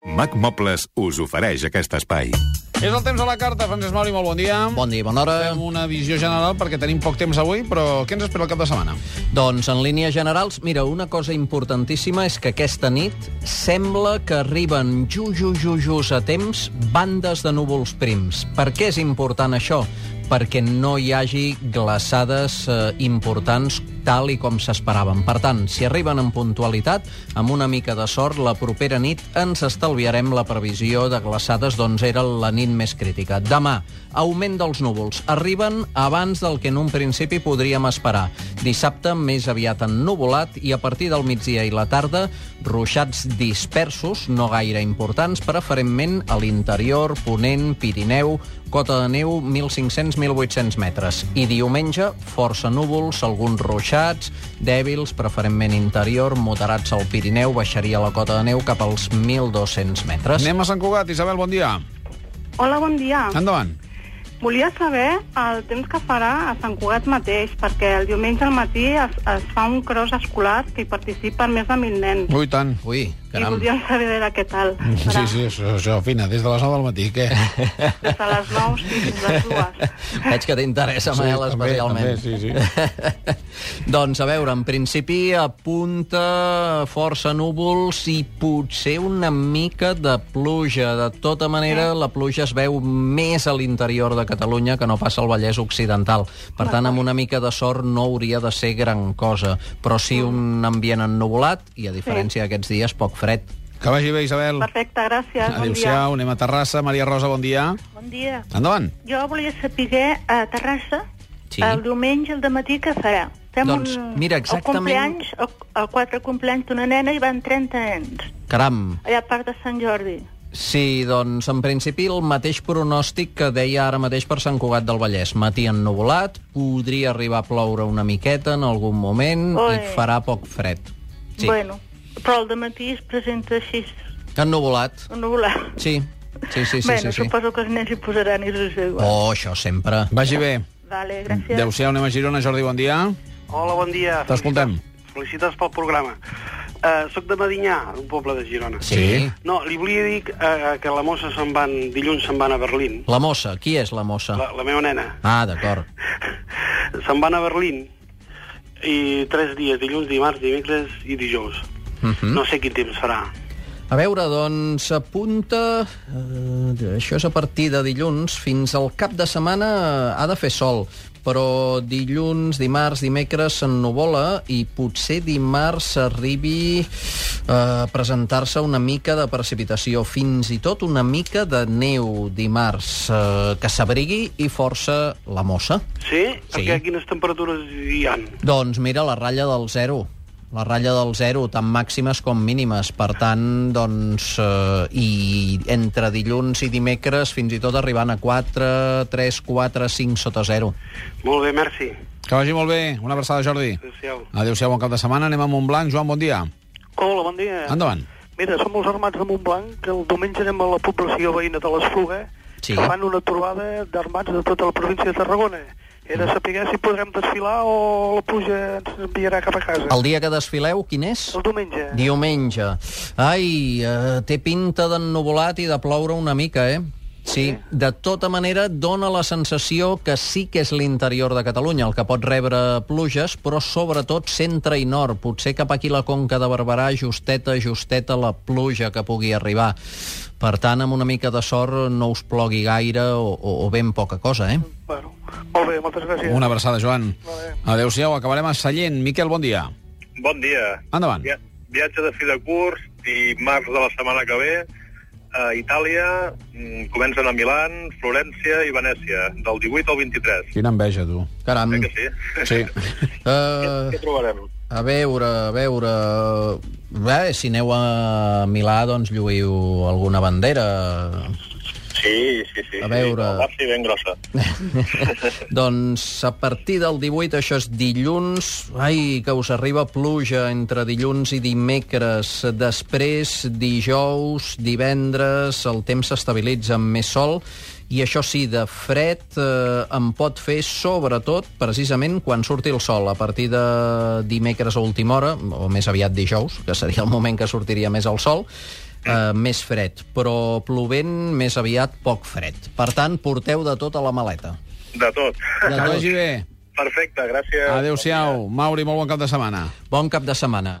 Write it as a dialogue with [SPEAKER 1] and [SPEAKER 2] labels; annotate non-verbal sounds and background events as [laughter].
[SPEAKER 1] Mac Mobles us ofereix aquest espai.
[SPEAKER 2] És el temps a la carta, Francesc Mauri, molt bon dia.
[SPEAKER 3] Bon dia, bona hora.
[SPEAKER 2] Fem una visió general perquè tenim poc temps avui, però què ens espera el cap de setmana?
[SPEAKER 3] Doncs, en línies generals, mira, una cosa importantíssima és que aquesta nit sembla que arriben ju, ju, ju, just a temps bandes de núvols prims. Per què és important això? perquè no hi hagi glaçades eh, importants tal i com s'esperaven. Per tant, si arriben amb puntualitat, amb una mica de sort, la propera nit ens estalviarem la previsió de glaçades, doncs era la nit més crítica. Demà, augment dels núvols. Arriben abans del que en un principi podríem esperar. Dissabte, més aviat ennuvolat, i a partir del migdia i la tarda, ruixats dispersos, no gaire importants, preferentment a l'interior, Ponent, Pirineu, cota de neu 1.500-1.800 metres. I diumenge, força núvols, alguns ruixats, dèbils, preferentment interior, moderats al Pirineu, baixaria la cota de neu cap als 1.200 metres.
[SPEAKER 2] Anem a Sant Cugat. Isabel, bon dia.
[SPEAKER 4] Hola, bon dia.
[SPEAKER 2] Endavant.
[SPEAKER 4] Volia saber el temps que farà a Sant Cugat mateix, perquè el diumenge al matí es, es fa un cross escolar que hi participen més de 1.000 nens.
[SPEAKER 2] Ui, tant.
[SPEAKER 3] Ui,
[SPEAKER 4] I
[SPEAKER 3] Oh, caram.
[SPEAKER 4] voldríem saber a veure què tal.
[SPEAKER 2] Sí, sí, això, això, fina, des de les 9 del matí,
[SPEAKER 3] [laughs]
[SPEAKER 2] què?
[SPEAKER 4] Des de les 9 sí, fins a les 2.
[SPEAKER 3] [laughs] Veig que t'interessa,
[SPEAKER 2] Sí,
[SPEAKER 3] Manel,
[SPEAKER 2] també,
[SPEAKER 3] especialment.
[SPEAKER 2] també, sí, sí.
[SPEAKER 3] [laughs] doncs, a veure, en principi apunta força núvols i potser una mica de pluja. De tota manera, la pluja es veu més a l'interior de Catalunya que no passa al Vallès Occidental. Per tant, amb una mica de sort no hauria de ser gran cosa, però sí un ambient ennuvolat i, a diferència d'aquests dies, poc fred.
[SPEAKER 2] Que vagi bé, Isabel.
[SPEAKER 4] Perfecte, gràcies. Bon dia.
[SPEAKER 2] Adéu-siau, anem a Terrassa. Maria Rosa, bon dia.
[SPEAKER 5] Bon dia.
[SPEAKER 2] Endavant.
[SPEAKER 5] Jo volia saber eh, a Terrassa
[SPEAKER 3] Sí.
[SPEAKER 5] el diumenge al matí què farà. Fem
[SPEAKER 3] Doncs, mira, exactament-
[SPEAKER 5] El compleanys, el, el quatre compleanys d'una nena i van 30 nens,
[SPEAKER 3] Caram,
[SPEAKER 5] allà a part de Sant Jordi.
[SPEAKER 3] Sí, doncs en principi el mateix pronòstic que deia ara mateix per Sant Cugat del Vallès. Matí ennuvolat, podria arribar a ploure una miqueta en algun moment
[SPEAKER 5] Oi.
[SPEAKER 3] i farà poc fred. Sí,
[SPEAKER 5] Bueno, però el matí es presenta així,
[SPEAKER 3] ennuvolat.
[SPEAKER 5] nuvolat.
[SPEAKER 3] Sí, sí, sí, sí.
[SPEAKER 5] bueno,
[SPEAKER 3] sí, sí.
[SPEAKER 5] suposo que els nens hi posaran il·lusió igual.
[SPEAKER 3] Oh, això sempre.
[SPEAKER 2] Vagi bé.
[SPEAKER 5] Vale, gràcies.
[SPEAKER 2] Adéu-siau, anem a Girona. Jordi, bon dia.
[SPEAKER 6] Hola, bon dia.
[SPEAKER 2] T'escoltem.
[SPEAKER 6] Felicitats pel programa. Uh, soc de Medinyà, un poble de Girona.
[SPEAKER 3] Sí.
[SPEAKER 6] No, li volia dir uh, que la mossa se'n van, dilluns se'n van a Berlín,
[SPEAKER 3] La mossa, qui és la mossa?
[SPEAKER 6] la, la meva nena.
[SPEAKER 3] Ah, d'acord.
[SPEAKER 6] Se'n van a Berlín i tres dies, dilluns, dimarts, dimecres i dijous.
[SPEAKER 3] Uh
[SPEAKER 6] No sé quin temps farà.
[SPEAKER 3] A veure, doncs, apunta... Eh, això és a partir de dilluns. Fins al cap de setmana eh, ha de fer sol, però dilluns, dimarts, dimecres s'ennuvola i potser dimarts arribi eh, a presentar-se una mica de precipitació, fins i tot una mica de neu dimarts, eh, que s'abrigui i força la mossa.
[SPEAKER 6] Sí?
[SPEAKER 3] Sí.
[SPEAKER 6] Perquè quines temperatures hi han?
[SPEAKER 3] Doncs mira, la ratlla del zero. La ratlla del zero, tant màximes com mínimes. Per tant, doncs, eh, i entre dilluns i dimecres, fins i tot arribant a 4, 3, 4, 5 sota zero.
[SPEAKER 6] Molt bé, merci.
[SPEAKER 2] Que vagi molt bé. Una abraçada, Jordi.
[SPEAKER 6] Adéu-siau.
[SPEAKER 2] Adéu-siau, bon cap de setmana. Anem a Montblanc. Joan, bon dia.
[SPEAKER 7] Hola, bon dia.
[SPEAKER 2] Endavant.
[SPEAKER 7] Mira, som els armats de Montblanc, que el diumenge anem a la població veïna de l'Espluga,
[SPEAKER 3] Sí.
[SPEAKER 7] que fan una trobada d'armats de tota la província de Tarragona. Era
[SPEAKER 3] Mm.
[SPEAKER 7] saber si podrem desfilar o la pluja ens enviarà cap a casa.
[SPEAKER 3] El dia que desfileu, quin és?
[SPEAKER 7] El diumenge.
[SPEAKER 3] Diumenge. Ai, eh, té pinta d'ennuvolat i de ploure una mica, eh? Sí, de tota manera dona la sensació que sí que és l'interior de Catalunya el que pot rebre pluges, però sobretot centre i nord. Potser cap aquí la Conca de Barberà, justeta, justeta la pluja que pugui arribar. Per tant, amb una mica de sort no us plogui gaire o, o, o ben poca cosa, eh?
[SPEAKER 7] Bueno, molt bé, moltes gràcies.
[SPEAKER 2] Una abraçada, Joan.
[SPEAKER 7] Molt bé.
[SPEAKER 2] Adéu-siau, acabarem a Sallent. Miquel, bon dia.
[SPEAKER 8] Bon dia.
[SPEAKER 2] Endavant.
[SPEAKER 8] Via viatge de fi de curs, dimarts de la setmana que ve, a Itàlia, mm, comencen a Milan, Florència i Venècia, del 18 al 23.
[SPEAKER 2] Quina enveja, tu.
[SPEAKER 3] Caram.
[SPEAKER 8] Eh que sí?
[SPEAKER 7] [laughs]
[SPEAKER 2] Sí.
[SPEAKER 3] Eh,
[SPEAKER 8] Què trobarem?
[SPEAKER 3] A veure, a veure... eh, Bé, si aneu a Milà, doncs lluïu alguna bandera.
[SPEAKER 8] Sí, sí, sí.
[SPEAKER 3] A veure.
[SPEAKER 8] Sí, la Barsi ben grossa.
[SPEAKER 3] [laughs] doncs a partir del 18, això és dilluns, ai, que us arriba pluja entre dilluns i dimecres. Després, dijous, divendres, el temps s'estabilitza amb més sol i això sí, de fred eh, em pot fer sobretot precisament quan surti el sol, a partir de dimecres a última hora, o més aviat dijous, que seria el moment que sortiria més el sol, eh, més fred, però plovent més aviat poc fred. Per tant, porteu de tota la maleta.
[SPEAKER 8] De tot.
[SPEAKER 3] De
[SPEAKER 2] Que
[SPEAKER 3] tot.
[SPEAKER 2] vagi bé.
[SPEAKER 8] Perfecte, gràcies.
[SPEAKER 2] Adéu-siau. Mauri, molt bon cap de setmana.
[SPEAKER 3] Bon cap de setmana.